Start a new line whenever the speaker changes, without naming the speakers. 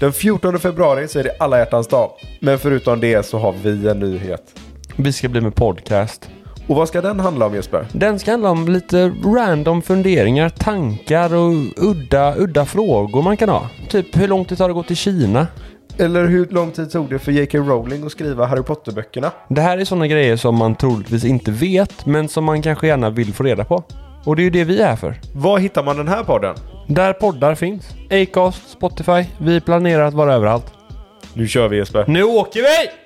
Den 14 februari så är det alla hjärtans dag. Men förutom det så har vi en nyhet.
Vi ska bli med podcast.
Och vad ska den handla om Jesper?
Den ska handla om lite random funderingar, tankar och udda, udda frågor man kan ha. Typ hur lång tid tar det att gå till Kina?
Eller hur lång tid tog det för J.K. Rowling att skriva Harry Potter-böckerna?
Det här är sådana grejer som man troligtvis inte vet, men som man kanske gärna vill få reda på. Och det är ju det vi är här för.
Var hittar man den här podden?
Där poddar finns. Acast, Spotify. Vi planerar att vara överallt.
Nu kör vi Jesper.
Nu åker vi!